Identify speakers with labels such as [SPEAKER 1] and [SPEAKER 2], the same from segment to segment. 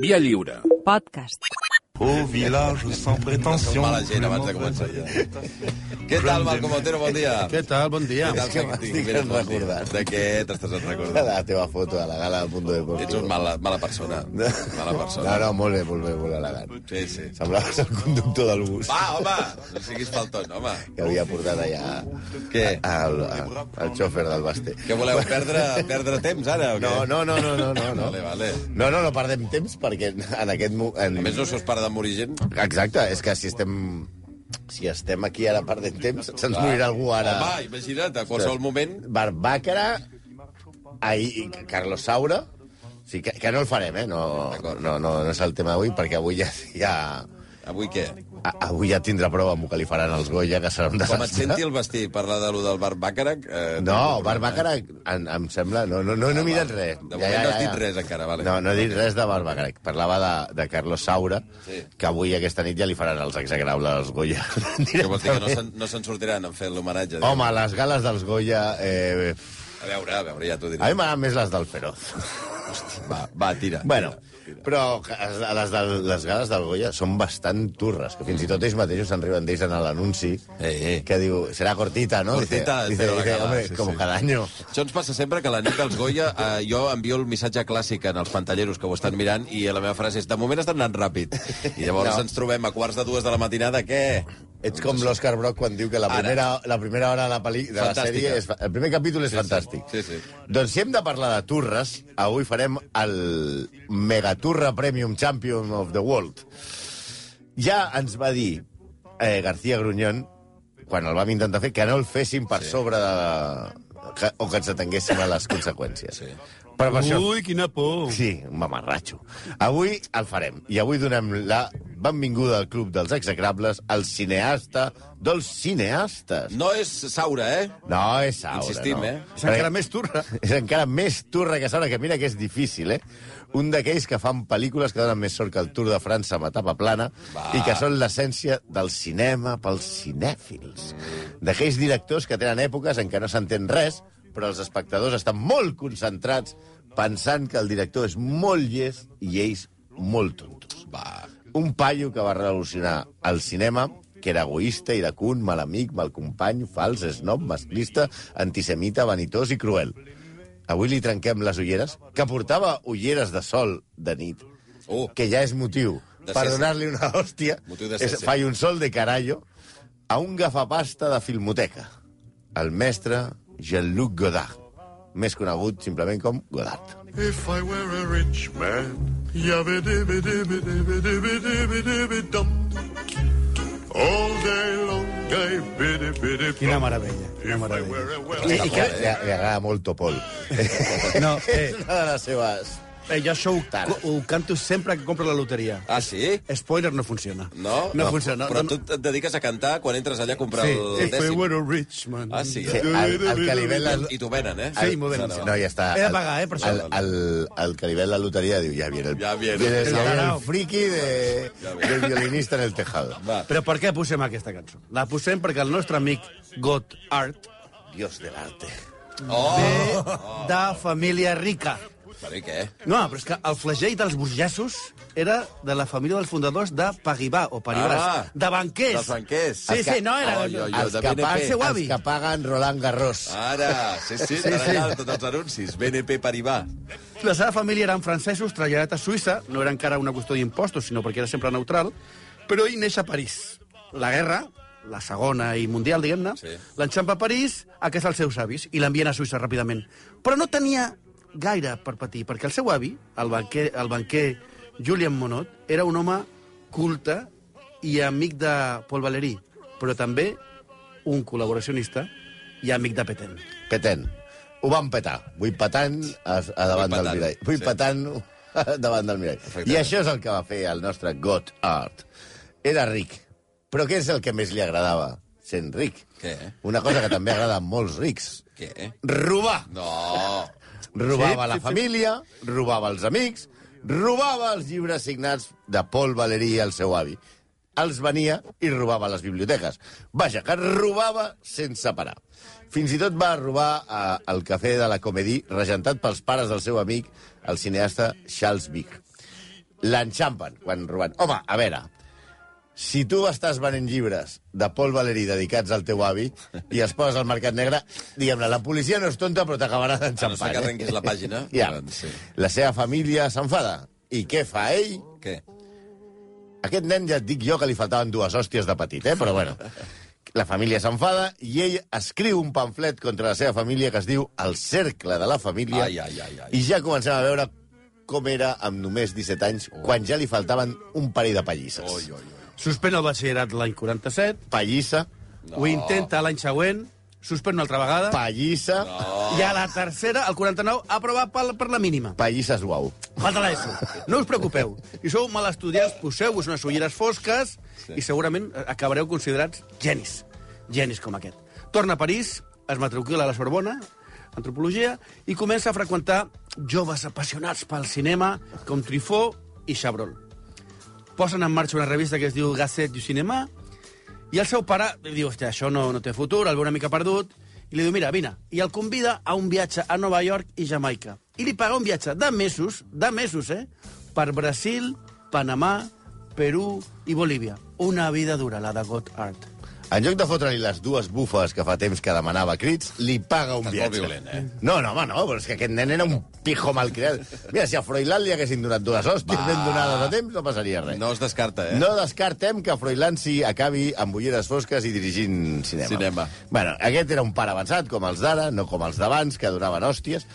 [SPEAKER 1] Via lliure.
[SPEAKER 2] Podcast.
[SPEAKER 3] Au village sans prétention.
[SPEAKER 4] Mala gent abans de començar ja. Què tal, Malcom Otero? Bon dia.
[SPEAKER 5] Què tal? Bon dia.
[SPEAKER 4] Què tal,
[SPEAKER 6] Què m'estic
[SPEAKER 4] Tinc ben
[SPEAKER 6] recordat.
[SPEAKER 4] De què t'estàs
[SPEAKER 6] De
[SPEAKER 4] recordant?
[SPEAKER 6] la teva foto de la gala del Punto Deportivo.
[SPEAKER 4] Ets un mala, mala persona. Mala persona.
[SPEAKER 6] No, no, molt bé, molt bé, molt elegant.
[SPEAKER 4] Sí, sí.
[SPEAKER 6] Semblaves el conductor del bus
[SPEAKER 4] Va, home! No siguis faltón, home.
[SPEAKER 6] que havia portat allà
[SPEAKER 4] Què?
[SPEAKER 6] el, el, el xòfer del Basté.
[SPEAKER 4] Que voleu perdre, perdre temps, ara, o què?
[SPEAKER 6] No, no, no, no, no, no. no.
[SPEAKER 4] Vale, vale.
[SPEAKER 6] No, no, no perdem temps perquè en aquest... mo- En...
[SPEAKER 4] A més, no sos part de morir gent?
[SPEAKER 6] Exacte, és que si estem... Si estem aquí ara perdent temps, se'ns morirà algú ara.
[SPEAKER 4] Home, imagina't, a qualsevol moment...
[SPEAKER 6] Barbàcara, ahir, Carlos Saura, o sigui, que, que no el farem, eh? No, no, no, no és el tema avui, perquè avui ja, ja,
[SPEAKER 4] Avui què?
[SPEAKER 6] a, avui ja tindrà prova amb el que li faran els Goya, que serà un
[SPEAKER 4] Com et senti
[SPEAKER 6] desastre.
[SPEAKER 4] el vestit? Parlar de lo del bar Bàcarac? Eh,
[SPEAKER 6] No, Barbàcara, en, em sembla... No, no, no, no he mirat res.
[SPEAKER 4] De moment no has dit res encara, vale.
[SPEAKER 6] No, no he dit res de Barbàcara. Parlava de, de Carlos Saura,
[SPEAKER 4] Sí.
[SPEAKER 6] que avui aquesta nit ja li faran els exagrables als Goya.
[SPEAKER 4] Que vols dir que no se'n no se'n sortiran en fer l'homenatge? diguem?
[SPEAKER 6] Home, les gales dels Goya... Eh,
[SPEAKER 4] A veure, a veure, ja t'ho diré.
[SPEAKER 6] a mi m'agraden més les del Feroz.
[SPEAKER 4] Va, va, tira.
[SPEAKER 6] Bueno,
[SPEAKER 4] Tira.
[SPEAKER 6] però que les, de, les gales del Goya són bastant turres, que fins i tot ells mateixos se'n riuen d'ells en l'anunci,
[SPEAKER 4] Eh, eh.
[SPEAKER 6] que diu, serà cortita, no?
[SPEAKER 4] Cortita,
[SPEAKER 6] dice,
[SPEAKER 4] pero la
[SPEAKER 6] dice, dice,
[SPEAKER 4] gala,
[SPEAKER 6] hombre,
[SPEAKER 4] sí,
[SPEAKER 6] como
[SPEAKER 4] sí.
[SPEAKER 6] cada año.
[SPEAKER 4] Això ens passa sempre que la nit dels Goya eh, jo envio el missatge clàssic en els pantalleros que ho estan mirant i la meva frase és de moment estan anant ràpid. I llavors
[SPEAKER 6] No.
[SPEAKER 4] no. ens trobem a quarts de dues de la matinada, què?
[SPEAKER 6] Ets com l'Òscar Brock quan diu que la
[SPEAKER 4] Ara.
[SPEAKER 6] primera, la primera hora de la, peli, de la
[SPEAKER 4] Fantàstica.
[SPEAKER 6] sèrie... És, fa- el primer capítol és
[SPEAKER 4] Sí, sí.
[SPEAKER 6] fantàstic.
[SPEAKER 4] Sí, sí.
[SPEAKER 6] Doncs si hem de parlar de turres, avui farem el Megaturra Premium Champion of the World. Ja ens va dir eh, García Gruñón, quan el vam intentar fer, que no el féssim per sí. sobre de... La... Que, o que ens atenguéssim a les conseqüències.
[SPEAKER 4] Sí.
[SPEAKER 6] Però per això...
[SPEAKER 5] Ui, quina por.
[SPEAKER 6] Sí, un mamarratxo. Avui el farem, i avui donem la benvinguda al Club dels Execrables, al cineasta dels cineastes.
[SPEAKER 4] No és Saura, eh?
[SPEAKER 6] No, és Saura,
[SPEAKER 4] Insistim,
[SPEAKER 6] no.
[SPEAKER 4] eh?
[SPEAKER 5] És encara més turra.
[SPEAKER 6] És encara més turra que Saura, que mira que és difícil, eh? Un d'aquells que fan pel·lícules que donen més sort que el Tour de França amb etapa plana
[SPEAKER 4] Va.
[SPEAKER 6] i que són l'essència del cinema pels cinèfils. D'aquells directors que tenen èpoques en què no s'entén res, però els espectadors estan molt concentrats pensant que el director és molt llest i ells molt tontos.
[SPEAKER 4] Va.
[SPEAKER 6] Un paio que va revolucionar el cinema, que era egoista, iracun, mal amic, mal company, fals, snob, masclista, antisemita, vanitós i cruel. Avui li trenquem les ulleres, que portava ulleres de sol de nit,
[SPEAKER 4] Uh,
[SPEAKER 6] que ja és motiu
[SPEAKER 4] De
[SPEAKER 6] per
[SPEAKER 4] ser-se.
[SPEAKER 6] donar-li una hòstia.
[SPEAKER 4] Motiu de
[SPEAKER 6] És,
[SPEAKER 4] ser-se.
[SPEAKER 6] fai un sol de carallo a un gafapasta de filmoteca, el mestre Jean-Luc Godard, més conegut simplement com Godard.
[SPEAKER 7] If I were a rich man, yabba-dibba-dibba-dibba-dibba-dibba-dibba-dum. All day long I biddy biddy
[SPEAKER 5] Quina meravella. Quina
[SPEAKER 7] If I
[SPEAKER 5] meravella.
[SPEAKER 7] were a well
[SPEAKER 6] I, i que, li,
[SPEAKER 4] eh?
[SPEAKER 6] li agrada molt Topol.
[SPEAKER 5] No,
[SPEAKER 6] És
[SPEAKER 5] eh,
[SPEAKER 6] una de les seves...
[SPEAKER 5] eh, jo això ho, ho canto sempre que compro la loteria.
[SPEAKER 4] ah, sí?
[SPEAKER 5] Spoiler no funciona.
[SPEAKER 4] No?
[SPEAKER 5] No funciona.
[SPEAKER 4] Però
[SPEAKER 5] no,
[SPEAKER 4] tu et dediques a cantar quan entres allà a comprar
[SPEAKER 5] Sí.
[SPEAKER 4] el
[SPEAKER 5] If I
[SPEAKER 4] dècim.
[SPEAKER 5] were a rich man...
[SPEAKER 4] Ah, sí?
[SPEAKER 6] Sí, el, el que li ve la...
[SPEAKER 4] I t'ho venen, eh?
[SPEAKER 5] Sí, molt bé.
[SPEAKER 4] No,
[SPEAKER 6] No, ja està.
[SPEAKER 5] He de pagar, eh, per això.
[SPEAKER 6] El, el, el que li ve la loteria diu, ja viene el,
[SPEAKER 4] Ya viene.
[SPEAKER 6] viene,
[SPEAKER 4] El
[SPEAKER 6] ja viene el
[SPEAKER 5] tarao.
[SPEAKER 6] friki de, del violinista en el tejado.
[SPEAKER 4] Va.
[SPEAKER 5] Però per què posem aquesta cançó? La posem perquè el nostre amic God Art
[SPEAKER 6] Dios del arte.
[SPEAKER 4] Oh!
[SPEAKER 5] de família rica.
[SPEAKER 4] Però i què?
[SPEAKER 5] No, però és que el flagell dels burgessos era de la família dels fundadors de Pagibà, o Paribas,
[SPEAKER 4] Ah.
[SPEAKER 5] de banquers.
[SPEAKER 4] Dels banquers.
[SPEAKER 5] Sí, sí, no, era...
[SPEAKER 4] Oi, oi, oi.
[SPEAKER 6] Els
[SPEAKER 4] de
[SPEAKER 6] que,
[SPEAKER 4] BNP.
[SPEAKER 6] pa-
[SPEAKER 5] El seu avi.
[SPEAKER 6] els que paguen Roland Garros.
[SPEAKER 4] Ah. Ara, sí, sí, sí, sí. tots els anuncis. BNP Paribas.
[SPEAKER 5] La seva família eren francesos, traslladats a Suïssa, no era encara una qüestió d'impostos, sinó perquè era sempre neutral, però ell neix a París. La guerra, la segona i mundial, diguem-ne,
[SPEAKER 4] Sí.
[SPEAKER 5] sí. l'enxampa a París, a casa dels seus avis, i l'envien a Suïssa ràpidament. Però no tenia gaire per patir, perquè el seu avi, el banquer, el banquer Julien Monod, era un home culte i amic de Paul Valéry, però també un col·laboracionista i amic de Petén.
[SPEAKER 6] Peten. Ho van petar. Vull petant a, a davant
[SPEAKER 4] Vull
[SPEAKER 6] del
[SPEAKER 4] petant,
[SPEAKER 6] mirall. Vull
[SPEAKER 4] sí.
[SPEAKER 6] petant davant del mirall. I
[SPEAKER 4] Efectivament.
[SPEAKER 6] això és el que va fer el nostre God Art. Era ric. Però què és el que més li agradava sent ric?
[SPEAKER 4] Què?
[SPEAKER 6] Una cosa que també agrada a molts rics.
[SPEAKER 4] Què?
[SPEAKER 6] Robar.
[SPEAKER 4] No.
[SPEAKER 6] Robava sí, la sí, família, robava els amics, robava els llibres signats de Paul Valéry i el seu avi. Els venia i robava a les biblioteques. Vaja, que robava sense parar. Fins i tot va robar eh, el cafè de la Comedie, regentat pels pares del seu amic, el cineasta Charles Vick. l'enxampen quan roben. Home, a veure, si tu estàs venent llibres de Paul Valéry dedicats al teu avi i els poses al mercat negre, diguem-ne, la policia no és tonta però t'acabarà
[SPEAKER 4] A no ser
[SPEAKER 6] d'enxampar. eh?
[SPEAKER 4] que arrenquis la pàgina.
[SPEAKER 6] Ja.
[SPEAKER 4] doncs Sí.
[SPEAKER 6] La seva família s'enfada. I què fa ell?
[SPEAKER 4] Què?
[SPEAKER 6] Aquest nen ja et dic jo que li faltaven dues hòsties de petit, eh? però bueno. La família s'enfada i ell escriu un pamflet contra la seva família que es diu El cercle de la família.
[SPEAKER 4] Ai, ai, ai, ai.
[SPEAKER 6] I ja comencem a veure com era amb només 17 anys, quan ja li faltaven un parell de pallisses.
[SPEAKER 4] Oh. Oi, oi, oi.
[SPEAKER 5] Suspèn el batxillerat l'any 47,
[SPEAKER 6] Pallissa,
[SPEAKER 5] no. ho intenta l'any següent, suspèn una altra vegada,
[SPEAKER 6] pallissa,
[SPEAKER 5] i a la tercera, el 49, aprovat per, per la mínima.
[SPEAKER 6] pallissa suau.
[SPEAKER 5] Falta l'ESO. No us preocupeu. Si sou mal estudiats, poseu-vos unes ulleres fosques i segurament acabareu considerats genis. Genis com aquest. Torna a París, es matricula a la Sorbona, antropologia, i comença a freqüentar joves apassionats pel cinema com Truffaut i Chabrol. Posen en marxa una revista que es diu Gazette du Cinema i el seu pare li diu, hòstia, això no, no té futur, el veu una mica perdut, i li diu, mira, vine, i el convida a un viatge a Nova York i Jamaica. I li paga un viatge de mesos, de mesos, eh?, per Brasil, Panamà, Perú i Bolívia. Una vida dura, la de God Art.
[SPEAKER 6] En lloc de fotre-li les dues bufes que fa temps que demanava a crits, li paga un
[SPEAKER 4] Estàs
[SPEAKER 6] viatge.
[SPEAKER 4] molt violent, eh?
[SPEAKER 6] No, no, home, no, però és que aquest nen era un pijo malcriat. Mira, si a Froilán li haguessin donat dues hòsties
[SPEAKER 4] Va.
[SPEAKER 6] ben donades a temps, no passaria res.
[SPEAKER 4] No es descarta, eh?
[SPEAKER 6] No descartem que Froilán s'hi acabi amb ulleres fosques i dirigint cinema.
[SPEAKER 4] Cinema.
[SPEAKER 6] Bueno, aquest era un pare avançat, com els d'ara, no com els d'abans, que donaven hòsties.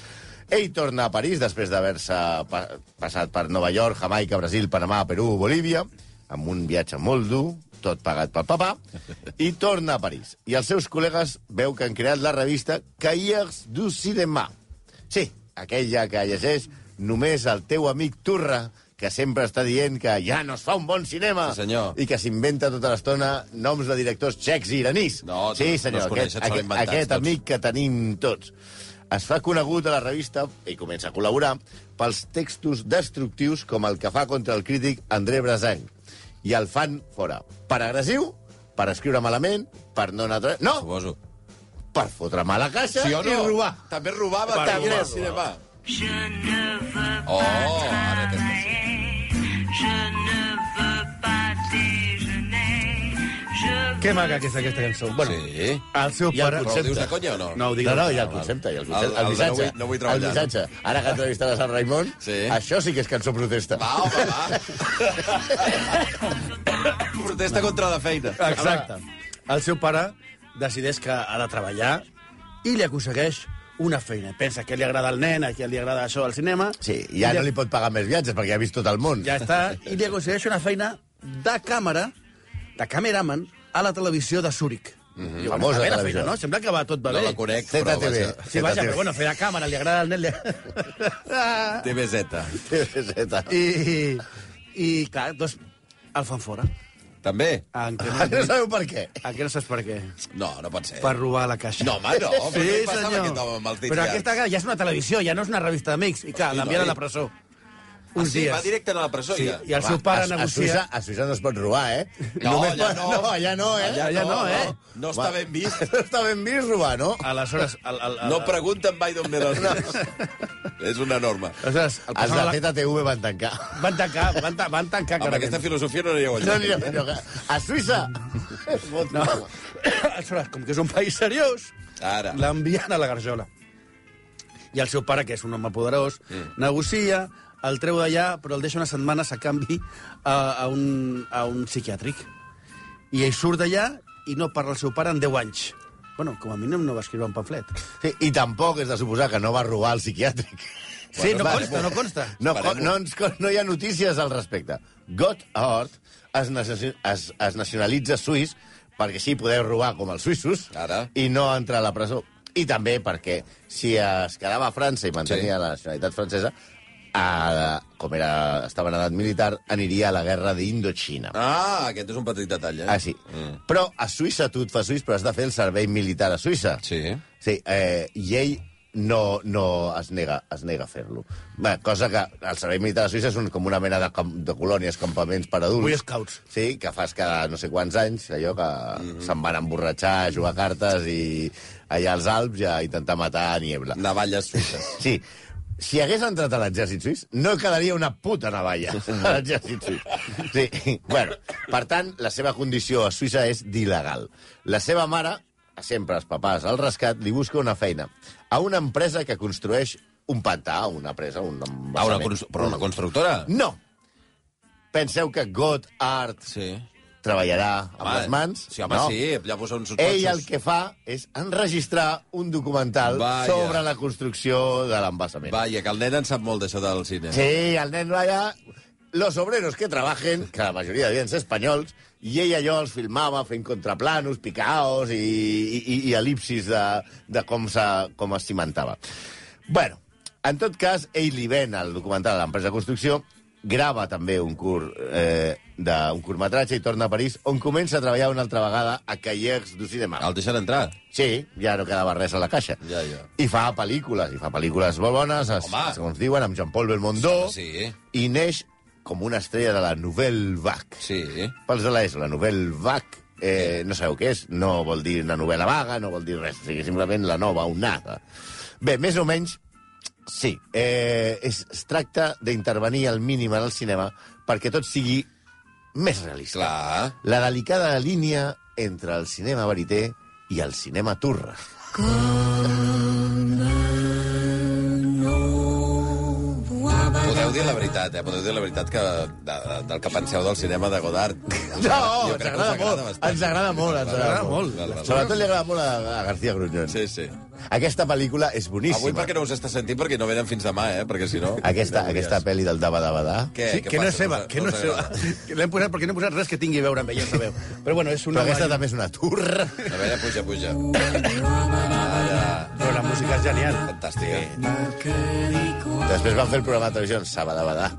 [SPEAKER 6] Ell torna a París després d'haver-se pa passat per Nova York, Jamaica, Brasil, Panamà, Perú, Bolívia, amb un viatge molt dur, tot pagat pel papà, i torna a París. I els seus col·legues veu que han creat la revista Cahiers du Cinema. Sí, aquella que llegeix només el teu amic Turra, que sempre està dient que ja no es fa un bon cinema
[SPEAKER 4] Sí, senyor.
[SPEAKER 6] i que s'inventa tota l'estona noms de directors txecs i iranís.
[SPEAKER 4] No,
[SPEAKER 6] sí,
[SPEAKER 4] no
[SPEAKER 6] senyor,
[SPEAKER 4] es coneixen,
[SPEAKER 6] aquest,
[SPEAKER 4] són
[SPEAKER 6] aquest,
[SPEAKER 4] inventats
[SPEAKER 6] aquest
[SPEAKER 4] tots.
[SPEAKER 6] amic que tenim tots. Es fa conegut a la revista i comença a col·laborar pels textos destructius com el que fa contra el crític André Brasanc. I el fan fora. Per agressiu, per escriure malament, per no anar... a tra- No,
[SPEAKER 4] Suposo.
[SPEAKER 6] per fotre mala caixa
[SPEAKER 4] Sí o no?
[SPEAKER 6] i robar.
[SPEAKER 4] També robava,
[SPEAKER 6] Per
[SPEAKER 4] també,
[SPEAKER 6] robar.
[SPEAKER 4] al cinema.
[SPEAKER 1] Je ne veux
[SPEAKER 4] Oh,
[SPEAKER 1] pas
[SPEAKER 4] ara aquesta sí.
[SPEAKER 1] travailler, je ne veux pas déjeuner, je
[SPEAKER 5] Que maca que és aquesta cançó. Bueno,
[SPEAKER 4] Sí.
[SPEAKER 5] el seu
[SPEAKER 6] I el
[SPEAKER 5] pare...
[SPEAKER 4] Però ho dius de Ah,
[SPEAKER 6] Concepte.
[SPEAKER 4] conya o no?
[SPEAKER 5] No, ho dic
[SPEAKER 6] No, no,
[SPEAKER 5] de-
[SPEAKER 6] i el concepte, i el concepte.
[SPEAKER 4] El-
[SPEAKER 6] El,
[SPEAKER 4] el de no
[SPEAKER 6] missatge.
[SPEAKER 4] vull- no vull treballar,
[SPEAKER 6] El missatge. Ara que entrevistaràs el Raimon,
[SPEAKER 4] Sí.
[SPEAKER 6] això sí que és cançó protesta.
[SPEAKER 4] Va, home, va. Protesta contra la feina.
[SPEAKER 5] Exacte. El seu pare decideix que ha de treballar i li aconsegueix una feina. Pensa que li agrada el nen, a qui li agrada això al cinema...
[SPEAKER 6] Sí, i ja
[SPEAKER 5] I
[SPEAKER 6] no li pot pagar més viatges, perquè ja ha vist tot el món.
[SPEAKER 5] Ja està. I li aconsegueix una feina de càmera, de cameraman, a la televisió de Zúrich. Mm -hmm.
[SPEAKER 6] Famosa
[SPEAKER 5] la
[SPEAKER 6] televisió.
[SPEAKER 5] feina, no? Sembla que va tot va
[SPEAKER 4] Mhm, No
[SPEAKER 5] bé.
[SPEAKER 4] la conec, però
[SPEAKER 6] ZTV.
[SPEAKER 4] vaja.
[SPEAKER 5] Sí, vaja, però bueno, fer de càmera, li agrada al nen... Li...
[SPEAKER 4] TVZ.
[SPEAKER 6] TVZ.
[SPEAKER 5] I, I, clar, doncs, el fan fora.
[SPEAKER 4] També?
[SPEAKER 5] En què
[SPEAKER 6] Ah, No
[SPEAKER 5] no,
[SPEAKER 6] sabeu per què.
[SPEAKER 5] en què no saps per què?
[SPEAKER 4] No, no pot ser.
[SPEAKER 5] Per robar la caixa.
[SPEAKER 4] No, home, no. Però
[SPEAKER 5] Sí,
[SPEAKER 4] què li passava a
[SPEAKER 5] senyor.
[SPEAKER 4] aquest home amb els dits
[SPEAKER 5] Però
[SPEAKER 4] llargs?
[SPEAKER 5] aquesta ja és una televisió, ja no és una revista d'amics. I clar,
[SPEAKER 4] Sí,
[SPEAKER 5] l'envien a
[SPEAKER 4] noi.
[SPEAKER 5] la presó.
[SPEAKER 4] Ah,
[SPEAKER 5] Uns
[SPEAKER 4] sí,
[SPEAKER 5] dies.
[SPEAKER 4] va directe a la presó,
[SPEAKER 5] Sí,
[SPEAKER 4] ja.
[SPEAKER 5] I el seu
[SPEAKER 6] Va,
[SPEAKER 5] pare
[SPEAKER 6] a, A Suïssa,
[SPEAKER 5] negocia...
[SPEAKER 6] a Suïssa no es pot robar, eh?
[SPEAKER 4] No,
[SPEAKER 6] Només
[SPEAKER 4] allà
[SPEAKER 6] per-
[SPEAKER 4] no.
[SPEAKER 6] no, allà no, eh?
[SPEAKER 5] Allà- allà no, eh?
[SPEAKER 4] No està
[SPEAKER 6] Va.
[SPEAKER 4] ben vist.
[SPEAKER 6] No està ben vist robar, no?
[SPEAKER 5] Aleshores, el, el, el,
[SPEAKER 4] No pregunten mai d'on ve les És una norma.
[SPEAKER 5] Aleshores, el
[SPEAKER 6] Els
[SPEAKER 5] passava
[SPEAKER 6] de
[SPEAKER 5] la...
[SPEAKER 6] ZTV van tancar.
[SPEAKER 5] Van tancar, van, ta van tancar
[SPEAKER 4] Amb aquesta
[SPEAKER 5] clarament.
[SPEAKER 4] filosofia no anireu eh?
[SPEAKER 6] No,
[SPEAKER 4] allà.
[SPEAKER 6] no, no, no. A Suïssa! Es pot
[SPEAKER 5] No.
[SPEAKER 6] robar.
[SPEAKER 5] Aleshores, com que és un país seriós,
[SPEAKER 4] Ara.
[SPEAKER 5] l'envien a la garjola. I el seu pare, que és un home poderós, mm. negocia, el treu d'allà, però el deixa unes setmanes a canvi a, a, un, a un psiquiàtric. I ell surt d'allà i no parla al seu pare en 10 anys. Bueno, com a mínim no va escriure un pamflet.
[SPEAKER 6] Sí, I tampoc és de suposar que no va robar al psiquiàtric.
[SPEAKER 5] Sí, no
[SPEAKER 6] va,
[SPEAKER 5] consta,
[SPEAKER 6] va.
[SPEAKER 5] no consta.
[SPEAKER 6] No,
[SPEAKER 4] Esperem-ho.
[SPEAKER 6] no, ens, con- no hi ha notícies al respecte. Got Hort es, naci- es, es nacionalitza suís perquè així podeu robar com els suïssos
[SPEAKER 4] Ara.
[SPEAKER 6] i no entrar a la presó. I també perquè si es quedava a França i mantenia
[SPEAKER 4] Sí.
[SPEAKER 6] sí. la nacionalitat francesa, a, com era, estava en edat militar, aniria a la guerra d'Indochina.
[SPEAKER 4] Ah, aquest és un petit detall, eh?
[SPEAKER 6] Ah, sí. Mm. Però a Suïssa tu et fas suís, però has de fer el servei militar a Suïssa.
[SPEAKER 4] Sí.
[SPEAKER 6] Sí, eh, i ell no, no es nega, es nega a fer-lo. Bé, cosa que el servei militar de Suïssa és un, com una mena de, camp, de colònies, campaments per adults.
[SPEAKER 5] Boy Scouts.
[SPEAKER 6] Sí, que fas cada no sé quants anys, allò que mm -hmm. se'n van a emborratxar, a jugar a cartes i allà als Alps i a intentar matar a Niebla.
[SPEAKER 4] Navalles suïsses.
[SPEAKER 6] Sí, si hagués entrat a l'exèrcit suís, no quedaria una puta navalla a l'exèrcit suís. Sí. Bueno, per tant, la seva condició a Suïssa és d'il·legal. La seva mare, sempre els papàs al rescat, li busca una feina a una empresa que construeix un pantà, una presa, un
[SPEAKER 4] Ah, una
[SPEAKER 6] embassament.
[SPEAKER 4] cons- però una constructora?
[SPEAKER 6] No! Penseu que God Art
[SPEAKER 4] Sí.
[SPEAKER 6] treballarà amb
[SPEAKER 4] Home,
[SPEAKER 6] les mans?
[SPEAKER 4] Sí, home,
[SPEAKER 6] no.
[SPEAKER 4] sí, allà posa uns totxos.
[SPEAKER 6] Ell el que fa és enregistrar un documental
[SPEAKER 4] Vaja.
[SPEAKER 6] sobre la construcció de l'embassament.
[SPEAKER 4] Vaja, que el nen en sap molt d'això del cine.
[SPEAKER 6] Sí, el nen va allà... Los obreros que trabajen, que la majoria devien ser espanyols, i ell allò els filmava fent contraplanos, picaos i, i, i elipsis de, de com, se, com es cimentava. Bueno, en tot cas, ell li ven el documental a l'empresa de construcció, grava també un, curt, eh, de, un curtmetratge i torna a París, on comença a treballar una altra vegada a Callers du Cinema.
[SPEAKER 4] El deixen entrar.
[SPEAKER 6] Sí, ja no quedava res a la caixa.
[SPEAKER 4] Ja, ja.
[SPEAKER 6] I fa pel·lícules, i fa pel·lícules molt bones, es,
[SPEAKER 4] Home.
[SPEAKER 6] segons diuen, amb Jean-Paul Belmondo,
[SPEAKER 4] Sí, eh?
[SPEAKER 6] i neix com una estrella de la Nouvelle Vague.
[SPEAKER 4] sí. eh?
[SPEAKER 6] Pels de l'ES, la Nouvelle Vague, eh, no sabeu què és, no vol dir una novel·la vaga, no vol dir res, o sigui, simplement la nova onada. Bé, més o menys, sí, eh, es, es tracta d'intervenir al mínim en el cinema perquè tot sigui més realista
[SPEAKER 4] Clar.
[SPEAKER 6] la delicada línia entre el cinema verité i el cinema turra.
[SPEAKER 4] Podeu dir la veritat, eh? Podeu dir la veritat que, de, de- del que penseu del cinema de Godard. Jo crec que us bastant.
[SPEAKER 6] ens
[SPEAKER 5] agrada molt.
[SPEAKER 6] Sobretot li agrada molt a, a García Gruñón.
[SPEAKER 4] Sí, sí.
[SPEAKER 6] Aquesta pel·lícula és boníssima.
[SPEAKER 4] Avui perquè no us està sentint, perquè no venen fins demà, eh? Perquè si no...
[SPEAKER 6] Aquesta,
[SPEAKER 4] no veuries.
[SPEAKER 6] aquesta pel·li del Daba Daba Da.
[SPEAKER 4] Què,
[SPEAKER 5] sí,
[SPEAKER 4] què
[SPEAKER 5] que no
[SPEAKER 4] passa?
[SPEAKER 5] és seva,
[SPEAKER 4] us-
[SPEAKER 5] que no
[SPEAKER 4] us
[SPEAKER 5] és seva.
[SPEAKER 4] agrada?
[SPEAKER 5] L'hem posat perquè no he posat res que tingui a veure amb ella, ja sabeu. Però bueno, és una...
[SPEAKER 6] Però aquesta també és una turra.
[SPEAKER 4] A veure, puja, puja.
[SPEAKER 5] Però la música és genial.
[SPEAKER 4] Fantàstica.
[SPEAKER 6] Després van fer el programa de televisió en Saba Daba Da.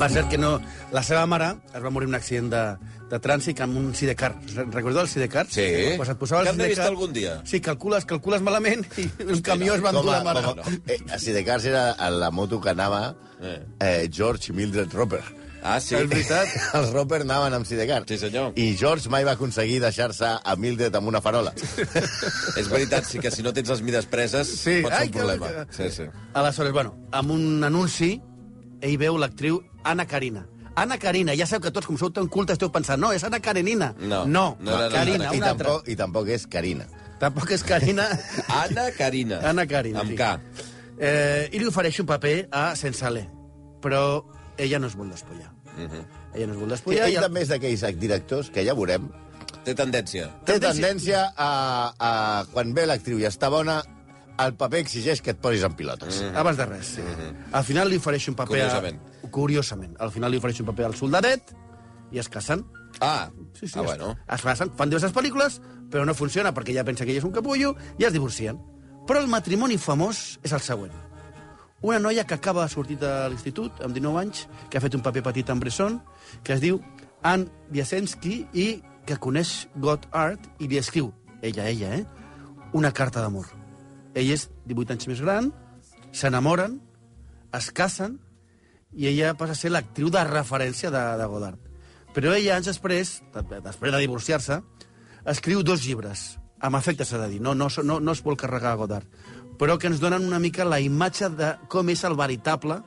[SPEAKER 5] Va ser que no... La seva mare es va morir en un accident de, de trànsit amb un sidecar. Recordeu el sidecar?
[SPEAKER 4] Sí.
[SPEAKER 5] Pues et posava el
[SPEAKER 4] Que hem de
[SPEAKER 5] sidecar-
[SPEAKER 4] vist algun dia.
[SPEAKER 5] Sí, calcules, calcules malament i un camió es va endur la mare.
[SPEAKER 6] com a, eh, si de cas era a la moto que anava eh, George i Mildred Roper.
[SPEAKER 4] Ah, sí?
[SPEAKER 5] És veritat.
[SPEAKER 6] Els Roper anaven amb Sidecar.
[SPEAKER 4] Sí, senyor.
[SPEAKER 6] I George mai va aconseguir deixar-se a Mildred amb una farola.
[SPEAKER 4] És veritat, sí que si no tens les mides preses
[SPEAKER 5] Sí.
[SPEAKER 4] pot ser
[SPEAKER 5] Ai,
[SPEAKER 4] un
[SPEAKER 5] que-
[SPEAKER 4] problema.
[SPEAKER 5] que-
[SPEAKER 4] Sí, sí.
[SPEAKER 5] Aleshores, bueno, amb un anunci, ell veu l'actriu Anna Karina. Anna Karina, ja sabeu que tots, com sou tan cultes, esteu pensant, no, és Anna Karenina.
[SPEAKER 4] No.
[SPEAKER 5] no,
[SPEAKER 4] No era Anna
[SPEAKER 5] Karina,
[SPEAKER 4] Karenina.
[SPEAKER 6] I
[SPEAKER 5] una altra.
[SPEAKER 6] tampoc, I tampoc és Carina.
[SPEAKER 5] Tampoc és Karina.
[SPEAKER 4] Anna Carina.
[SPEAKER 5] Anna Karina,
[SPEAKER 4] Amb
[SPEAKER 5] sí.
[SPEAKER 4] K.
[SPEAKER 5] Eh, I li ofereix un paper a Sensale, però ella no es vol despullar. Uh
[SPEAKER 4] Mhm.
[SPEAKER 5] -huh. Ella no es vol despullar.
[SPEAKER 6] Ell
[SPEAKER 5] i-
[SPEAKER 6] també és d'aquells directors que ja veurem.
[SPEAKER 4] Té tendència.
[SPEAKER 6] Té
[SPEAKER 5] Tendència-
[SPEAKER 6] tendència a, a quan ve l'actriu i està bona, el paper exigeix que et posis en pilotes. Mm.
[SPEAKER 5] Mhm. Abans de res, sí. Al final li ofereix un paper...
[SPEAKER 4] Mhm. Curiosament.
[SPEAKER 5] A... Curiosament. Al final li ofereix un paper al soldadet i es casen.
[SPEAKER 4] Ah,
[SPEAKER 5] Sí, sí,
[SPEAKER 4] ah
[SPEAKER 5] es-
[SPEAKER 4] bueno.
[SPEAKER 5] Es casen, fan diverses pel·lícules, però no funciona perquè ja pensa que ell és un capullo i es divorcien. Però el matrimoni famós és el següent. Una noia que acaba de sortir de l'institut amb 19 anys, que ha fet un paper petit en Bresson, que es diu Anne Biasensky i que coneix God Art i li escriu, ella, ella, eh? Una carta d'amor. Ell és 18 anys més gran, s'enamoren, es casen i ella passa a ser l'actriu de referència de, de Godard. Però ella, anys després, de- després de divorciar-se, escriu dos llibres, amb afecte s'ha de dir, no, no, no, no es vol carregar a Godard, però que ens donen una mica la imatge de com és el veritable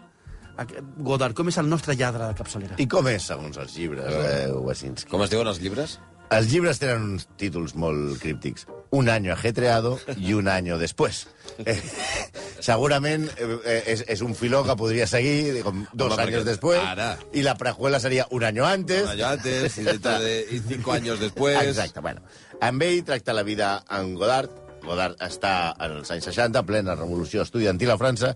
[SPEAKER 5] aqu- Godard, com és el nostre lladre de capçalera.
[SPEAKER 6] I com és, segons els llibres, eh, Wasinski?
[SPEAKER 4] Com es diuen els llibres?
[SPEAKER 6] Els llibres tenen uns títols molt críptics. Un año ajetreado i un año después. Eh, segurament eh, eh, és, és un filó que podria seguir com dos
[SPEAKER 4] Home,
[SPEAKER 6] Home,
[SPEAKER 4] perquè
[SPEAKER 6] anys després,
[SPEAKER 4] ara.
[SPEAKER 6] i la prejuela seria un año antes.
[SPEAKER 4] Bueno, ya antes, y dentro de y cinco años después.
[SPEAKER 6] Exacte, bueno. Amb ell tracta la vida en Godard. Godard està en els anys 60, plena revolució estudiantil a França,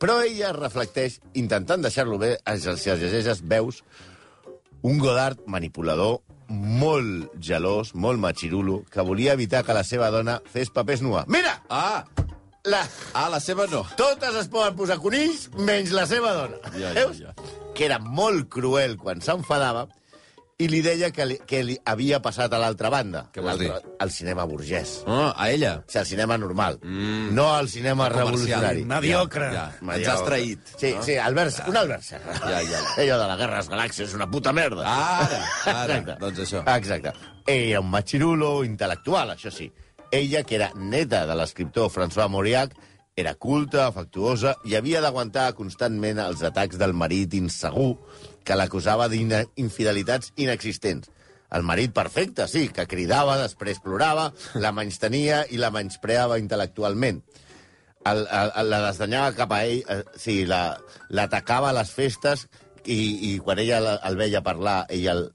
[SPEAKER 6] però ella reflecteix, intentant deixar-lo bé, als si els llegeixes, veus un Godard manipulador, molt gelós, molt machirulo, que volia evitar que la seva dona fes papers nua. Mira!
[SPEAKER 4] Ah,
[SPEAKER 6] La...
[SPEAKER 4] ah, la seva no.
[SPEAKER 6] Totes es poden posar conills, menys la seva dona.
[SPEAKER 4] Ja, ja,
[SPEAKER 6] Veus?
[SPEAKER 4] ja.
[SPEAKER 6] Que era molt cruel quan s'enfadava i li deia que li, que li havia passat a l'altra banda.
[SPEAKER 4] Què vols dir?
[SPEAKER 6] El cinema burgès.
[SPEAKER 4] Ah, a ella.
[SPEAKER 6] O sigui, el cinema normal. Mm. No el cinema
[SPEAKER 4] Comercial.
[SPEAKER 6] revolucionari.
[SPEAKER 5] Mediocre.
[SPEAKER 4] Ja, ja. Ens
[SPEAKER 6] Mediocre.
[SPEAKER 4] has traït.
[SPEAKER 6] Sí, no? sí, Albert, un Albert Serra.
[SPEAKER 4] Ja, ja.
[SPEAKER 6] Allò de la Guerra de les Galàxies és una puta merda.
[SPEAKER 4] Ara, ara.
[SPEAKER 6] Exacte.
[SPEAKER 4] doncs això.
[SPEAKER 6] Exacte. Ell era un machirulo intel·lectual, això sí. Ella, que era neta de l'escriptor François Mauriac, Era culta, afectuosa, i havia d'aguantar constantment els atacs del marit insegur que l'acusava d'infidelitats inexistents. El marit perfecte, sí, que cridava, després plorava, la menystenia i la menyspreava intel·lectualment. El, el, el, la desdanyava cap a ell, eh, sí, la- l'atacava a les festes i, i quan ella la- el veia parlar, ella, el-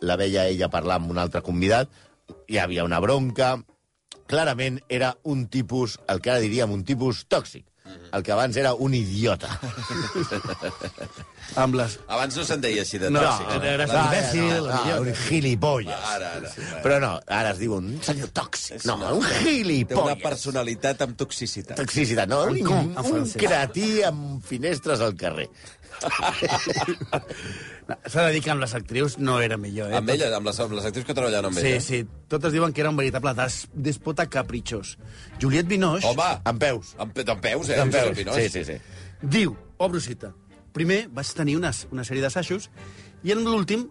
[SPEAKER 6] la veia ella parlar amb un altre convidat, hi havia una bronca, clarament era un tipus, el que ara diríem un tipus tòxic, el que abans era un idiota.
[SPEAKER 5] Amb les...
[SPEAKER 4] Abans no se'n deia així de
[SPEAKER 5] No,
[SPEAKER 4] tòxic.
[SPEAKER 5] era-
[SPEAKER 4] Abans-
[SPEAKER 5] imbècil,
[SPEAKER 6] no, Ah, un gilipolles.
[SPEAKER 4] Ara, ara.
[SPEAKER 6] Però no, ara es diu un senyor tòxic. No, un
[SPEAKER 4] Té una
[SPEAKER 6] gilipolles.
[SPEAKER 4] personalitat amb toxicitat.
[SPEAKER 6] Toxicitat, no? Un,
[SPEAKER 5] com, en
[SPEAKER 6] un
[SPEAKER 5] francès.
[SPEAKER 6] cretí amb finestres al carrer.
[SPEAKER 5] S'ha de dir que amb les actrius no era millor, eh?
[SPEAKER 4] Amb eh? elles, amb les, amb les actrius que treballaven amb
[SPEAKER 5] Sí,
[SPEAKER 4] elles.
[SPEAKER 5] sí. Totes diuen que era un veritable des- despota capritxós. Juliette Binoche
[SPEAKER 4] Home,
[SPEAKER 6] Amb peus.
[SPEAKER 4] amb, pe- amb peus, eh?
[SPEAKER 6] Amb
[SPEAKER 4] Josep
[SPEAKER 6] peus.
[SPEAKER 4] Pinós.
[SPEAKER 6] Sí, sí, sí.
[SPEAKER 5] diu, obro cita, primer vaig tenir una, una sèrie d'assajos i en l'últim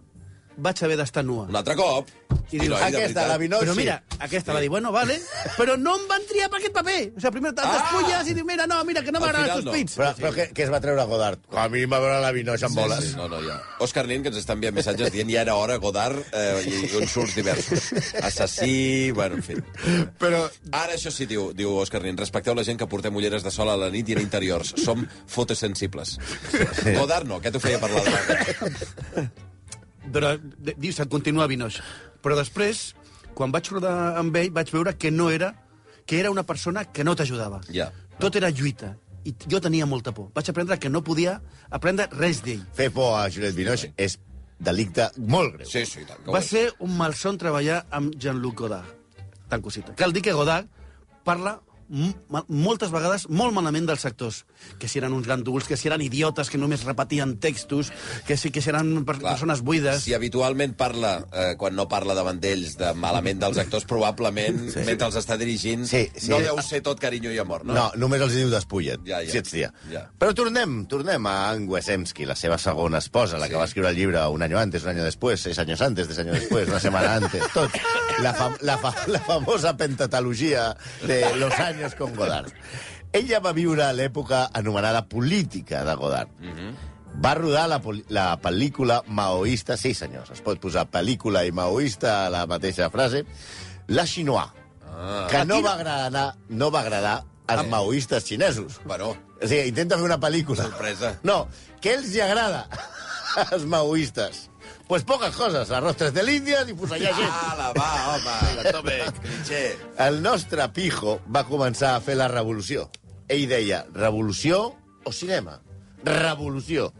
[SPEAKER 5] vaig haver d'estar nua.
[SPEAKER 4] Un altre cop.
[SPEAKER 5] I dius,
[SPEAKER 4] Pinós, de
[SPEAKER 6] Aquesta,
[SPEAKER 4] veritat.
[SPEAKER 6] la Vinotxi.
[SPEAKER 5] Però mira, aquesta va dir, bueno, vale, però no em van triar per aquest paper. O sigui, primer te'l despulles i diu, mira, no, mira, que no
[SPEAKER 4] Ah! Al
[SPEAKER 5] m'agraden
[SPEAKER 4] final
[SPEAKER 5] els
[SPEAKER 4] no.
[SPEAKER 5] teus pits.
[SPEAKER 6] Però, però què, què es va treure Godard? A mi em va veure la Vinoix amb boles.
[SPEAKER 4] Sí, sí, no, no, ja. Òscar Nin, que ens està enviant missatges dient ja era hora, Godard, eh, i insults diversos. Assassí, bueno, en fi.
[SPEAKER 6] Però
[SPEAKER 4] Ara això sí, diu, diu Òscar Nin, respecteu la gent que portem ulleres de sol a la nit i en interiors. Som fotosensibles. Godard no, aquest ho feia parlar de...
[SPEAKER 5] Però, de- diu, se'n continua Vinoix. Però després, quan vaig rodar amb ell, vaig veure que no era que era una persona que no t'ajudava.
[SPEAKER 4] Ja.
[SPEAKER 5] Tot era lluita. I t- jo tenia molta por. Vaig aprendre que no podia aprendre res d'ell.
[SPEAKER 6] fer por a Juliette Binoche és delicte molt greu.
[SPEAKER 4] Sí, sí, i tant. que ho
[SPEAKER 5] Va
[SPEAKER 4] és.
[SPEAKER 5] ser un malson treballar amb Jean-Luc Godard. Tan cosita. Cal dir que Godard parla m- ma- moltes vegades molt malament dels actors. Que si eren uns ganduls, que si eren idiotes, que només repetien textos, que si, que si eren per
[SPEAKER 4] Clar,
[SPEAKER 5] persones buides...
[SPEAKER 4] Si habitualment parla, eh, quan no parla davant d'ells, de malament dels actors, probablement, sí. mentre els està dirigint,
[SPEAKER 6] Sí, sí.
[SPEAKER 4] no deu ser tot carinyo i amor, no?
[SPEAKER 6] No, només els diu despulla't,
[SPEAKER 4] Ja,
[SPEAKER 6] ja,
[SPEAKER 4] ja.
[SPEAKER 6] ja. si ets tia.
[SPEAKER 4] Ja.
[SPEAKER 6] Ja. Però tornem, tornem a Anne Wesemski, la seva segona esposa, la
[SPEAKER 4] Sí.
[SPEAKER 6] que va escriure el llibre un any antes, un any després, seis anys antes, tres anys després, una setmana antes, tot. La, fam la, fa la famosa pentatalogia de los años con Godard. Ella va viure a l'època anomenada política de Godard.
[SPEAKER 4] Mhm.
[SPEAKER 6] Va rodar la, poli- la pel·lícula maoista... Sí, senyors, es pot posar pel·lícula i maoista a la mateixa frase. La Chinois, ah. que no va agradar, no va agradar als maoistes xinesos.
[SPEAKER 4] Bueno,
[SPEAKER 6] O sigui, intenta fer una pel·lícula.
[SPEAKER 4] Sorpresa.
[SPEAKER 6] No, què els hi agrada als maoistes? Pues poques coses, arroz tres de l'Índia i fusellar gent.
[SPEAKER 4] Ala, Ah, va, home, tome, cliché.
[SPEAKER 6] El nostre pijo va començar a fer la revolució. Ell deia, revolució o cinema? Revolució.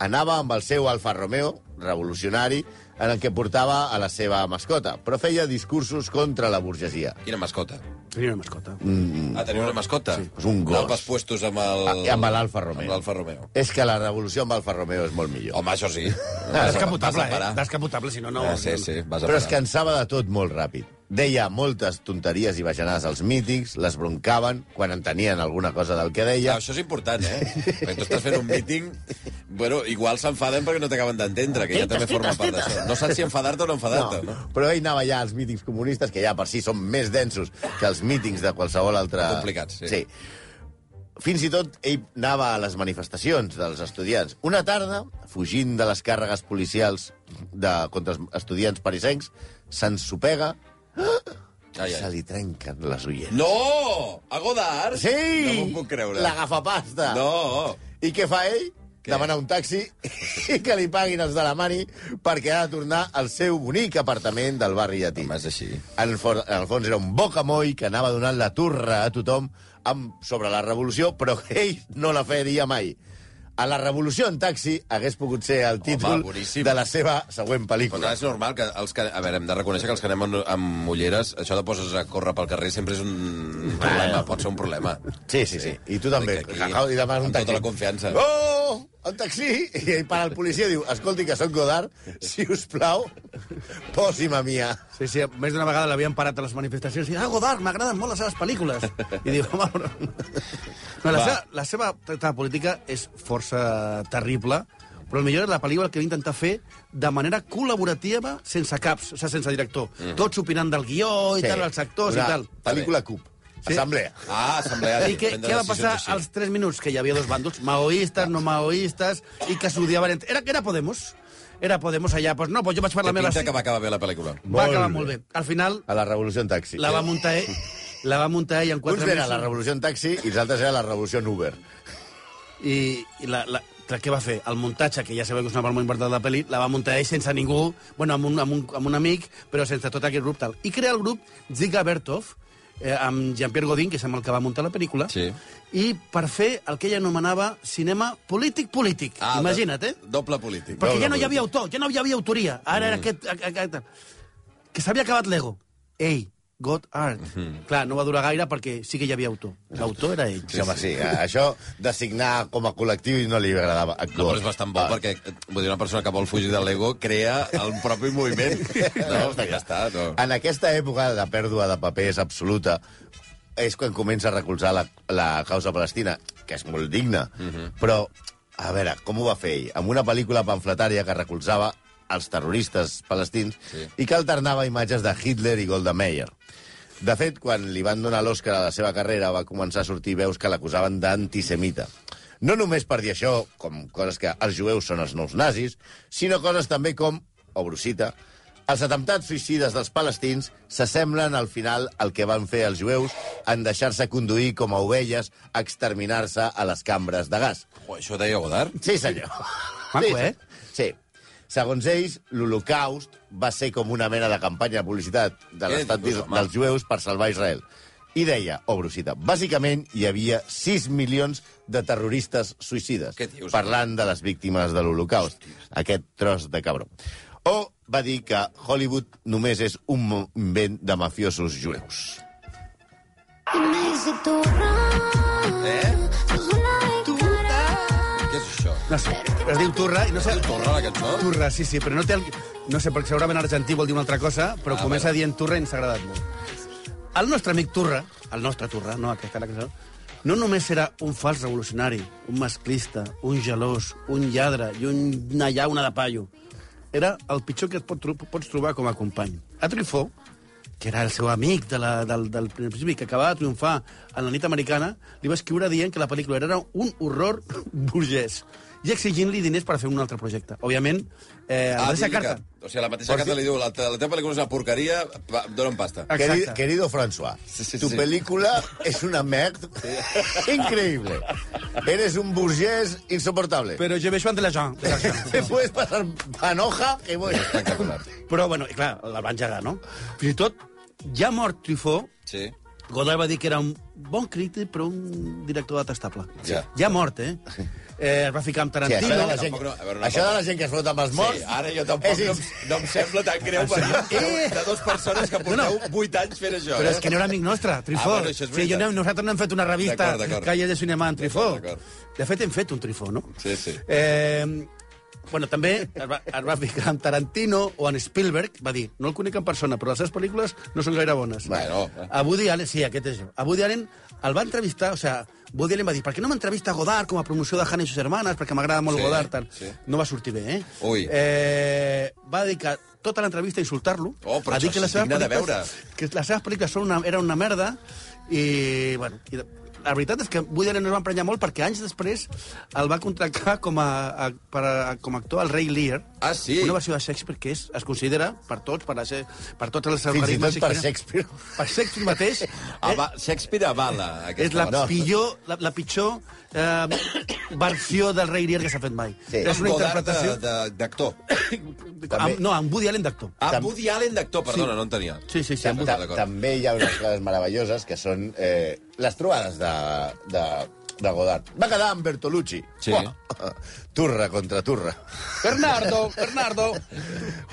[SPEAKER 6] Anava amb el seu Alfa Romeo, revolucionari, en el que portava a la seva mascota, però feia discursos contra la burgesia.
[SPEAKER 4] Quina mascota?
[SPEAKER 5] Tenia una mascota.
[SPEAKER 6] Mm,
[SPEAKER 4] Ah, teniu una mascota? Sí,
[SPEAKER 6] és un gos.
[SPEAKER 4] No pas puestos amb el...
[SPEAKER 6] Ah, amb l'Alfa Romeo.
[SPEAKER 4] Amb l'Alfa Romeo.
[SPEAKER 6] És que la revolució amb Alfa Romeo és molt millor.
[SPEAKER 4] Home, això sí.
[SPEAKER 6] Ah,
[SPEAKER 5] Descapotable,
[SPEAKER 4] Vas a
[SPEAKER 5] eh?
[SPEAKER 4] parar.
[SPEAKER 5] Descapotable, si no, no...
[SPEAKER 4] Ah, sí, sí, vas a
[SPEAKER 6] Però es
[SPEAKER 4] parar.
[SPEAKER 6] cansava de tot molt ràpid. Deia moltes tonteries i bajanades als mítics, les broncaven quan entenien alguna cosa del que
[SPEAKER 4] Ja,
[SPEAKER 6] deia.
[SPEAKER 4] això és important, eh? Perquè tu estàs fent un míting... Bueno, igual s'enfaden perquè no t'acaben d'entendre, que ja també forma part d'això. No saps si enfadar-te o no enfadar-te, no?
[SPEAKER 6] Però ell anava ja als mítings comunistes, que ja per si són més densos que els mítings de qualsevol altre...
[SPEAKER 4] Complicats, sí.
[SPEAKER 6] sí. Fins i tot ell anava a les manifestacions dels estudiants. Una tarda, fugint de les càrregues policials de, contra els estudiants parisencs, s'ensopega
[SPEAKER 4] Ai,
[SPEAKER 6] i se
[SPEAKER 4] ai.
[SPEAKER 6] li trenquen les ulleres.
[SPEAKER 4] No! A Godard?
[SPEAKER 6] Sí!
[SPEAKER 4] No m'ho puc creure.
[SPEAKER 6] L'agafa pasta.
[SPEAKER 4] No!
[SPEAKER 6] I què fa ell?
[SPEAKER 4] Què?
[SPEAKER 6] Què? Demanar un taxi i que li paguin els de la mani perquè ha de tornar al seu bonic apartament del barri llatí.
[SPEAKER 4] Home, és així.
[SPEAKER 6] En el, fons, en el fons era un bocamoll que anava donant la turra a tothom amb, sobre la revolució, però que ell no la faria mai. A la revolució en taxi hagués pogut ser el títol
[SPEAKER 4] boníssim.
[SPEAKER 6] de la seva següent
[SPEAKER 4] Però
[SPEAKER 6] pel·lícula.
[SPEAKER 4] clar, és normal que els que... A veure, hem de reconèixer que els que anem amb, amb ulleres, això de poses a córrer pel carrer sempre és un problema, pot ser un problema.
[SPEAKER 6] Sí, sí, sí. I tu també.
[SPEAKER 4] Aquí,
[SPEAKER 6] que Acabo de demanar un
[SPEAKER 4] amb
[SPEAKER 6] taxi.
[SPEAKER 4] tota la confiança.
[SPEAKER 6] Oh! Un taxi! I ell para el policia i diu, escolti, que sóc Godard, si us plau, posi'm a mi.
[SPEAKER 5] Sí, sí, més d'una vegada l'havien parat a les manifestacions i ah, Godard, m'agraden molt les seves pel·lícules. I diu, home, però... No, la,
[SPEAKER 4] Va.
[SPEAKER 5] seva, la seva tractada política és força terrible, però el millor és la pel·lícula que va intentar fer de manera col·laborativa, sense caps, o sigui, sense director. Tots opinant del guió i sí. tal, els actors
[SPEAKER 6] Una
[SPEAKER 5] i tal.
[SPEAKER 6] Pel·lícula Cup. Sí? Assemblea.
[SPEAKER 4] Ah, assemblea.
[SPEAKER 5] I què, què va passar als 3 minuts? Que hi havia dos bàndols, maoistes, no maoistes, i que s'odiaven... entre- Era, era Podemos. Era Podemos allà. Pues no, pues jo vaig
[SPEAKER 4] Té
[SPEAKER 5] parlar amb la
[SPEAKER 4] pinta que va acabar bé la pel·lícula.
[SPEAKER 5] Va acabar molt bé. Al final,
[SPEAKER 6] A la Revolució en Taxi.
[SPEAKER 5] la va muntar ell, la va muntar ell en
[SPEAKER 6] Uns
[SPEAKER 5] 4
[SPEAKER 6] eren a la
[SPEAKER 5] mesos.
[SPEAKER 6] Revolució en Taxi i els altres era la Revolució en Uber.
[SPEAKER 5] I, i la, la, clar, què va fer? El muntatge, que ja sabeu que és una part molt important de la pel·li, la va muntar ell sense ningú, bueno, amb un, amb un, amb un amic, però sense tot aquest grup tal. I crea el grup Ziga Bertov, eh, amb Jean-Pierre Godin, que és amb el que va muntar la pel·lícula,
[SPEAKER 4] Sí.
[SPEAKER 5] i per fer el que ell anomenava cinema polític-polític.
[SPEAKER 4] Ah,
[SPEAKER 5] Imagina't, eh?
[SPEAKER 4] Doble polític.
[SPEAKER 5] Perquè
[SPEAKER 6] no,
[SPEAKER 5] ja no Mm.
[SPEAKER 6] no,
[SPEAKER 5] hi havia autor, ja no hi havia autoria. Ara era aquest... a- a- a- Que s'havia acabat l'ego. Ei, God Art. Clar, no va durar gaire perquè sí que hi havia autor. L'autor era ell.
[SPEAKER 6] Sí, home, sí. Això de signar com a col·lectiu no li agradava. a
[SPEAKER 4] No, però és
[SPEAKER 6] Gore.
[SPEAKER 4] bastant bo,
[SPEAKER 6] Ah.
[SPEAKER 4] perquè vull dir, una persona que vol fugir de l'ego crea el propi moviment. No, ja està, no.
[SPEAKER 5] Ah.
[SPEAKER 6] En aquesta època de pèrdua de papers absoluta és quan comença a recolzar la, la causa palestina, que és molt digna. Però, a veure, com ho va fer ell? Amb una pel·lícula pamfletària que recolzava els terroristes palestins sí. i que alternava imatges de Hitler i Golda Meir. De fet, quan li van donar l'Oscar a la seva carrera, va començar a sortir veus que l'acusaven d'antisemita. No només per dir això, com coses que els jueus són els nous nazis, sinó coses també com, o brusita, els atemptats suïcides dels palestins s'assemblen al final al que van fer els jueus en deixar-se conduir com a ovelles a exterminar-se a les cambres de gas.
[SPEAKER 4] Oh, això ho deia Godard?
[SPEAKER 6] Sí, senyor.
[SPEAKER 5] Maco,
[SPEAKER 6] sí,
[SPEAKER 5] eh?
[SPEAKER 6] Sí. Segons ells, l'Holocaust va ser com una mena de campanya de publicitat de
[SPEAKER 4] Què
[SPEAKER 6] l'estat
[SPEAKER 4] dius,
[SPEAKER 6] d'Is-
[SPEAKER 4] home?
[SPEAKER 6] dels jueus per salvar Israel. I deia, obro cita, bàsicament hi havia 6 milions de terroristes suïcides,
[SPEAKER 4] Què dius,
[SPEAKER 6] parlant de les víctimes de l'Holocaust. Aquest tros de cabró. O va dir que Hollywood només és un mo- invent de mafiosos jueus.
[SPEAKER 4] Eh? Què és això?
[SPEAKER 5] No sé, es diu Turra, i no sé...
[SPEAKER 4] Torra, la cançó?
[SPEAKER 5] Turra, sí, sí, però no té el... No sé, perquè segurament argentí vol dir una altra cosa, però
[SPEAKER 4] Ah,
[SPEAKER 5] ah, comença
[SPEAKER 4] vale.
[SPEAKER 5] dient Turra i ens ha agradat molt. El nostre amic Turra, el nostre Turra, no aquest, la cançó, no només era un fals revolucionari, un masclista, un gelós, un lladre i un- una llauna de paio. Era el pitjor que et pot, tro- pots trobar com a company. A Trifó, que era el seu amic de la, del, del principi, que acabava de triomfar en la nit americana, li va escriure dient que la pel·lícula era un horror burgès i exigint-li diners per fer un altre projecte. Òbviament, eh, ah,
[SPEAKER 4] vull
[SPEAKER 5] mateixa
[SPEAKER 4] dir
[SPEAKER 5] carta...
[SPEAKER 4] Que, o sigui, la mateixa carta li diu, la, te- la teva pel·lícula és una porqueria, pa, dona'm pasta.
[SPEAKER 5] Exacte.
[SPEAKER 6] Queri- Querido François,
[SPEAKER 4] Sí, sí,
[SPEAKER 6] tu
[SPEAKER 4] sí.
[SPEAKER 6] película es una mierda increíble. Eres un burgués insoportable.
[SPEAKER 5] Però je vais de la Jean. De la Jean.
[SPEAKER 6] Te puedes pasar panoja que voy.
[SPEAKER 4] Espectacular.
[SPEAKER 5] Però, bueno, i clar, la va engegar, no? Fins i tot, ja mort Truffaut,
[SPEAKER 4] Sí.
[SPEAKER 5] Godard va dir que era un bon crític, però un director detestable.
[SPEAKER 4] Ja.
[SPEAKER 5] ja mort, eh? eh? Es va ficar amb
[SPEAKER 6] Sí, això
[SPEAKER 5] Tarantino...
[SPEAKER 6] de la
[SPEAKER 4] tampoc
[SPEAKER 6] gent,
[SPEAKER 4] no- a veure, una
[SPEAKER 6] això de
[SPEAKER 4] cosa.
[SPEAKER 6] la gent que es fot amb els morts...
[SPEAKER 4] Sí, ara jo
[SPEAKER 5] Eh,
[SPEAKER 4] tampoc
[SPEAKER 6] és
[SPEAKER 4] no, em-
[SPEAKER 6] ins-
[SPEAKER 4] no em sembla tan greu per eh! de dues persones que porteu
[SPEAKER 5] Ah, No,
[SPEAKER 4] 8 anys fent això.
[SPEAKER 5] Però
[SPEAKER 4] eh?
[SPEAKER 5] és que no era amic nostre, Trifó.
[SPEAKER 4] Ah, bueno, això és
[SPEAKER 5] sí, jo,
[SPEAKER 4] veritat.
[SPEAKER 5] no- nosaltres no hem fet una revista
[SPEAKER 4] D'acord, d'acord.
[SPEAKER 5] Calle de Cinema en Trifó.
[SPEAKER 4] D'acord, d'acord.
[SPEAKER 5] De fet, hem fet un Trifó, no?
[SPEAKER 4] Sí, sí.
[SPEAKER 5] Eh, bueno, també es va, es va ficar amb Tarantino o en Spielberg, va dir, no el conec en persona, però les seves pel·lícules no són gaire bones.
[SPEAKER 4] Bueno, eh.
[SPEAKER 5] A Woody Allen, sí, aquest és jo. A Woody Allen el va entrevistar, o sigui, Woody Allen va dir, per què no m'entrevista Godard com a promoció de Hannah i sus hermanes, perquè m'agrada molt
[SPEAKER 4] Sí,
[SPEAKER 5] Godard, tal.
[SPEAKER 4] sí.
[SPEAKER 5] No va sortir bé, eh?
[SPEAKER 4] Ui.
[SPEAKER 5] Eh, va dedicar tota l'entrevista a insultar-lo,
[SPEAKER 4] Oh, però
[SPEAKER 5] a dir
[SPEAKER 4] això
[SPEAKER 5] que les
[SPEAKER 4] és
[SPEAKER 5] seves
[SPEAKER 4] digne de
[SPEAKER 5] pel·lícules-
[SPEAKER 4] veure.
[SPEAKER 5] que les seves pel·lícules són una, era una merda i, bueno, i de, la veritat és que Woody Allen es va emprenyar molt perquè anys després el va contractar com a, a, per a, com a actor al Rei Lear.
[SPEAKER 4] Ah, sí?
[SPEAKER 5] Una versió de Shakespeare que és, es considera per tots, per, la, se- per tots els
[SPEAKER 6] Fins i tot per
[SPEAKER 5] Shakespeare-
[SPEAKER 6] Shakespeare.
[SPEAKER 5] Per Shakespeare mateix.
[SPEAKER 4] Ah,
[SPEAKER 5] eh,
[SPEAKER 4] va, Shakespeare avala aquesta
[SPEAKER 5] és la
[SPEAKER 4] versió.
[SPEAKER 5] pitjor, la, la pitjor eh, versió del Rei Lear que s'ha fet mai.
[SPEAKER 6] Sí. eh,
[SPEAKER 5] És una
[SPEAKER 4] Godard de-
[SPEAKER 5] interpretació...
[SPEAKER 4] de- d'actor.
[SPEAKER 6] També-
[SPEAKER 5] Amb, no, amb Woody Allen d'actor.
[SPEAKER 4] Ah,
[SPEAKER 6] Tam-
[SPEAKER 4] Woody Allen d'actor, perdona, no en tenia.
[SPEAKER 5] Sí, sí, sí.
[SPEAKER 6] Tam-
[SPEAKER 5] amb Woody-
[SPEAKER 6] ta-
[SPEAKER 4] d'acord.
[SPEAKER 6] També hi ha unes coses meravelloses que són eh, les trobades de, de, de Godard. Va quedar amb Bertolucci.
[SPEAKER 4] Sí.
[SPEAKER 6] Buah. Turra contra turra.
[SPEAKER 5] Bernardo, Bernardo.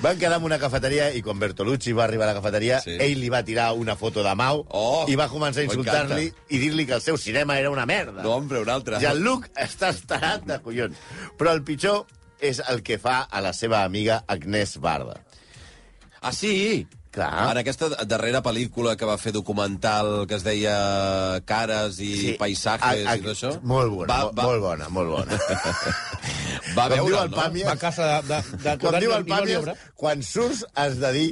[SPEAKER 6] Van quedar en una cafeteria i quan Bertolucci va arribar a la cafeteria,
[SPEAKER 4] Sí.
[SPEAKER 6] sí. ell li va tirar una foto de Mao
[SPEAKER 4] Oh,
[SPEAKER 6] i va començar a insultar-li
[SPEAKER 4] m'encanta.
[SPEAKER 6] i dir-li que el seu cinema era una merda.
[SPEAKER 4] No, hombre, un altre.
[SPEAKER 6] Jean-Luc està estarat de collons. Però el pitjor és el que fa a la seva amiga Agnès Barda.
[SPEAKER 4] Ah, sí?
[SPEAKER 6] Clar.
[SPEAKER 4] En aquesta darrera pel·lícula que va fer documental que es deia Cares i sí. Paisajes
[SPEAKER 6] A- a-
[SPEAKER 4] i tot això...
[SPEAKER 6] Ah, Molt bona,
[SPEAKER 4] Va,
[SPEAKER 6] va,
[SPEAKER 4] va,
[SPEAKER 6] molt bona, molt bona.
[SPEAKER 4] va
[SPEAKER 6] Com diu
[SPEAKER 4] veure'l,
[SPEAKER 6] el
[SPEAKER 4] no?
[SPEAKER 6] Pàmies,
[SPEAKER 5] Va a casa de... de, de
[SPEAKER 6] com diu el
[SPEAKER 5] Godard i- i Godard i
[SPEAKER 6] Pàmies,
[SPEAKER 5] Obra.
[SPEAKER 6] quan surts has de dir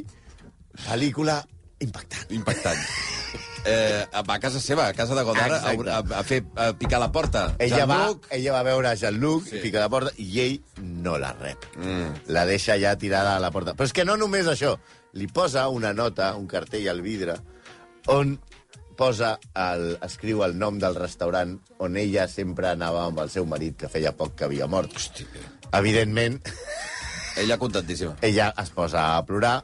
[SPEAKER 6] pel·lícula impactant.
[SPEAKER 4] Impactant. eh, va a casa seva, a casa de Godard, a,
[SPEAKER 6] Exacte.
[SPEAKER 4] a, a, fer, a picar la porta.
[SPEAKER 6] Ella va,
[SPEAKER 4] Jean-Luc,
[SPEAKER 6] ella va veure Jean-Luc,
[SPEAKER 4] Sí.
[SPEAKER 6] sí. pica a la porta, i ell no la rep. Mm. La deixa ja tirada a la porta. Però és que no només això. Li posa una nota, un cartell al vidre, on posa el, escriu el nom del restaurant on ella sempre anava amb el seu marit, que feia poc que havia mort. Hòstia. Evidentment,
[SPEAKER 4] Ella contentíssima.
[SPEAKER 6] ella es posa a plorar.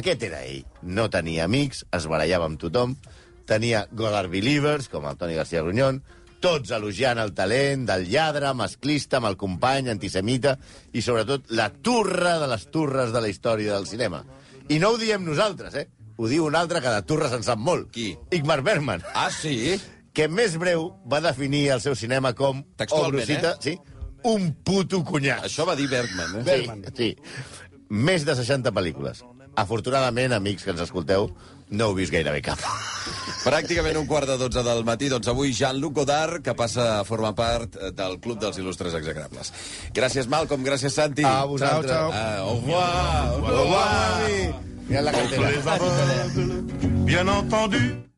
[SPEAKER 6] Aquest era ell. No tenia amics, es barallava amb tothom, tenia Godard Believers, com el Toni García Grunyón, tots elogiant el talent del lladre, masclista, amb el company, antisemita, i sobretot la turra de les turres de la història del cinema. I no ho diem nosaltres, eh? Ho diu un altre que de turres en sap molt.
[SPEAKER 4] Qui?
[SPEAKER 6] Igmar Bergman
[SPEAKER 4] Ah, sí?
[SPEAKER 6] que més breu va definir el seu cinema com...
[SPEAKER 4] Textualment,
[SPEAKER 6] obro cita,
[SPEAKER 4] eh?
[SPEAKER 6] Sí, un puto cunyat.
[SPEAKER 4] Això va dir Bergman, eh?
[SPEAKER 6] Bergman. Sí, sí. Més de 60 pel·lícules. Afortunadament, amics que ens escolteu, no heu vist gairebé cap.
[SPEAKER 4] Pràcticament un quart de dotze del matí, doncs avui Jean-Luc Godard, que passa a formar part eh, del Club dels Il·lustres Execrables. Gràcies, Malcolm, gràcies, Santi.
[SPEAKER 6] A vosaltres.
[SPEAKER 4] Au,
[SPEAKER 6] Ah.
[SPEAKER 4] revoir. Au revoir.
[SPEAKER 6] Mira la cartera.
[SPEAKER 7] Les aveugles, bien entendu.